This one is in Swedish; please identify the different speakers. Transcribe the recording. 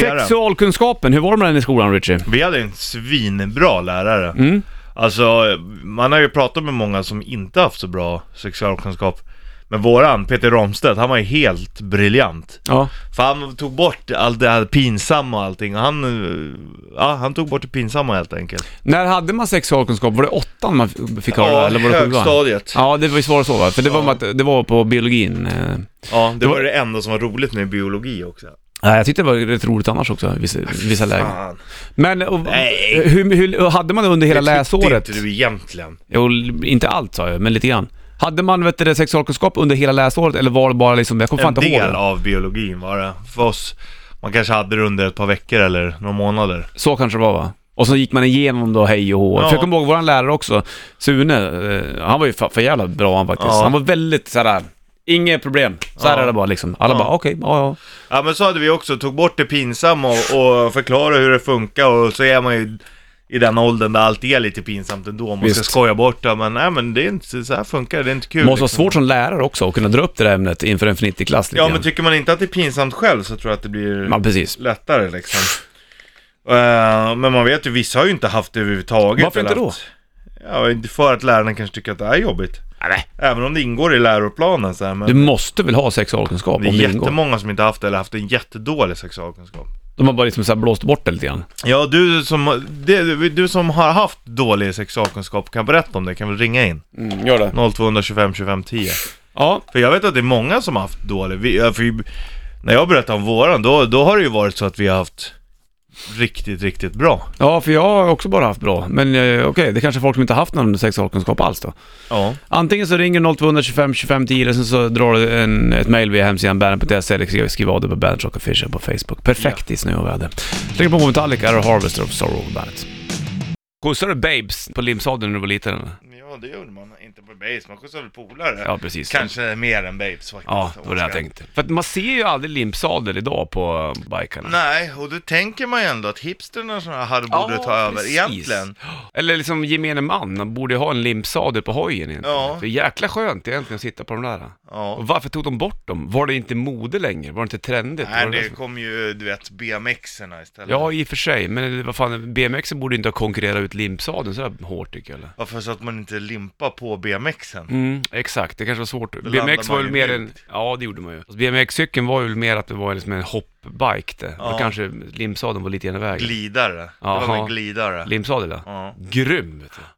Speaker 1: göra.
Speaker 2: Sexualkunskapen, hur var det med den i skolan Richie?
Speaker 1: Vi hade en svinbra lärare.
Speaker 2: Mm.
Speaker 1: Alltså, man har ju pratat med många som inte haft så bra sexualkunskap. Men våran, Peter Ramstedt, han var ju helt briljant.
Speaker 2: Ja.
Speaker 1: För han tog bort allt det här pinsamma och allting. Och Han, eh, ja, han tog bort det pinsamma helt enkelt.
Speaker 2: När hade man sexualkunskap? Var det åttan man f- fick höra?
Speaker 1: ja,
Speaker 2: eller var det sjuan?
Speaker 1: högstadiet. Ja.
Speaker 2: Ja, det var ju svårare så va? För det var,
Speaker 1: Ja.
Speaker 2: att, det var på biologin. eh.
Speaker 1: det var det enda som var roligt med biologi också.
Speaker 2: Nej, jag tyckte det var rätt roligt annars också, i vissa, vissa lägen.
Speaker 1: Fan.
Speaker 2: Men och,
Speaker 1: Nej.
Speaker 2: hur, hur, hade man det under hela
Speaker 1: Det tyckte
Speaker 2: läsåret?
Speaker 1: inte du egentligen.
Speaker 2: Jo, inte allt sa jag, men lite grann. Hade man vet du, det, sexualkunskap under hela läsåret eller var det bara liksom, jag kommer fan
Speaker 1: En
Speaker 2: inte ihåg.
Speaker 1: del
Speaker 2: det.
Speaker 1: av biologin var det. För oss, man kanske hade det under ett par veckor eller några månader.
Speaker 2: Så kanske det var va? Och så gick man igenom då hej och hå.
Speaker 1: Ja.
Speaker 2: För jag kommer ihåg våran lärare också, Sune, eh, han var ju för, för jävla bra han faktiskt.
Speaker 1: Ja.
Speaker 2: Han var väldigt såhär, inget problem. Så här
Speaker 1: Ja.
Speaker 2: är det bara liksom. Alla
Speaker 1: Ja.
Speaker 2: bara okej, ja ja.
Speaker 1: Ja men så hade vi också, tog bort det pinsamma och, och förklara hur det funkar och så är man ju i den åldern där allt är lite pinsamt ändå, man ska
Speaker 2: Visst.
Speaker 1: skoja bort det men nej men det är inte, så här funkar det, det är inte kul
Speaker 2: Måste vara
Speaker 1: liksom.
Speaker 2: svårt som lärare också att kunna dra upp det där ämnet inför en fnittrig klass lite
Speaker 1: Ja
Speaker 2: grann.
Speaker 1: men tycker man inte att det är pinsamt själv så tror jag att det blir
Speaker 2: Ja, precis.
Speaker 1: lättare liksom Eh, Men man vet ju, vissa har ju inte haft det överhuvudtaget
Speaker 2: Varför inte
Speaker 1: eller
Speaker 2: då?
Speaker 1: haft- Ja, inte för att lärarna kanske tycker att det är jobbigt
Speaker 2: Nej,
Speaker 1: Även om det ingår i läroplanen så här, men
Speaker 2: Du måste väl ha sexualkunskap
Speaker 1: Det är
Speaker 2: om det ingår?
Speaker 1: jättemånga som inte haft det eller haft en jättedålig sexualkunskap
Speaker 2: De har bara liksom så här blåst bort det lite grann.
Speaker 1: Ja, du som, det, du som har haft dålig sexualkunskap kan berätta om det, kan väl ringa in?
Speaker 2: gör det.
Speaker 1: 0225 25 10
Speaker 2: Ja,
Speaker 1: För jag vet att det är många som har haft dålig, vi, ja, för vi- när jag berättar om våran, då, då har det ju varit så att vi har haft riktigt, riktigt bra
Speaker 2: Ja, för jag har också bara haft bra. Men eh, okej, det är kanske folk som inte haft någon sexualkunskap alls då.
Speaker 1: Ja,
Speaker 2: Antingen så ringer 0225 25 10 eller sen så drar du en, ett mejl via hemsidan bandit.se eller skriver, skriver av dig på Bandit Rock Official på Facebook. Perfekt i snö och väder. Slänger på Metallica, eller Harvester of Sorrow Bandet. Skjutsade du babes på limsadeln när du var liten? eller?
Speaker 1: ja det gjorde man inte på babes, man skjutsade väl polare
Speaker 2: Ja, precis.
Speaker 1: Kanske mer än babes faktiskt
Speaker 2: Ja, det var det jag tänkte. För att man ser ju aldrig limsadel idag på eh, bikarna.
Speaker 1: Nej, och då tänker man ju ändå att hipsterna såna här borde
Speaker 2: Ja,
Speaker 1: ta över
Speaker 2: precis.
Speaker 1: egentligen
Speaker 2: Eller liksom gemene man, man borde ju ha en limsadel på hojen egentligen.
Speaker 1: Ja.
Speaker 2: För jäkla skönt egentligen att sitta på de där.
Speaker 1: Ja,
Speaker 2: Och varför tog de bort dem? Var det inte mode längre? Var det inte trendigt?
Speaker 1: Nej,
Speaker 2: Var
Speaker 1: det
Speaker 2: liksom-
Speaker 1: kom ju, du vet, BMX-erna istället.
Speaker 2: Ja, i och för sig, men vad fan, BMX borde inte ha konkurrerat ut limpsadeln sådär hårt tycker jag. Eller?
Speaker 1: Varför så att man inte limpar på BMX-en?
Speaker 2: Mm, exakt, det kanske var svårt.
Speaker 1: landar
Speaker 2: BMX var
Speaker 1: man
Speaker 2: väl
Speaker 1: ju
Speaker 2: mer en...
Speaker 1: mjukt.
Speaker 2: Ja, det gjorde man ju. Alltså, BMX-cykeln var ju väl mer att det var liksom en hoppbike det.
Speaker 1: Ja.
Speaker 2: Då kanske limpsadeln var lite grann i vägen.
Speaker 1: Glidare. Det
Speaker 2: Jaha.
Speaker 1: var en glidare.
Speaker 2: Limsadel ja.
Speaker 1: Ja.
Speaker 2: Grym vet du.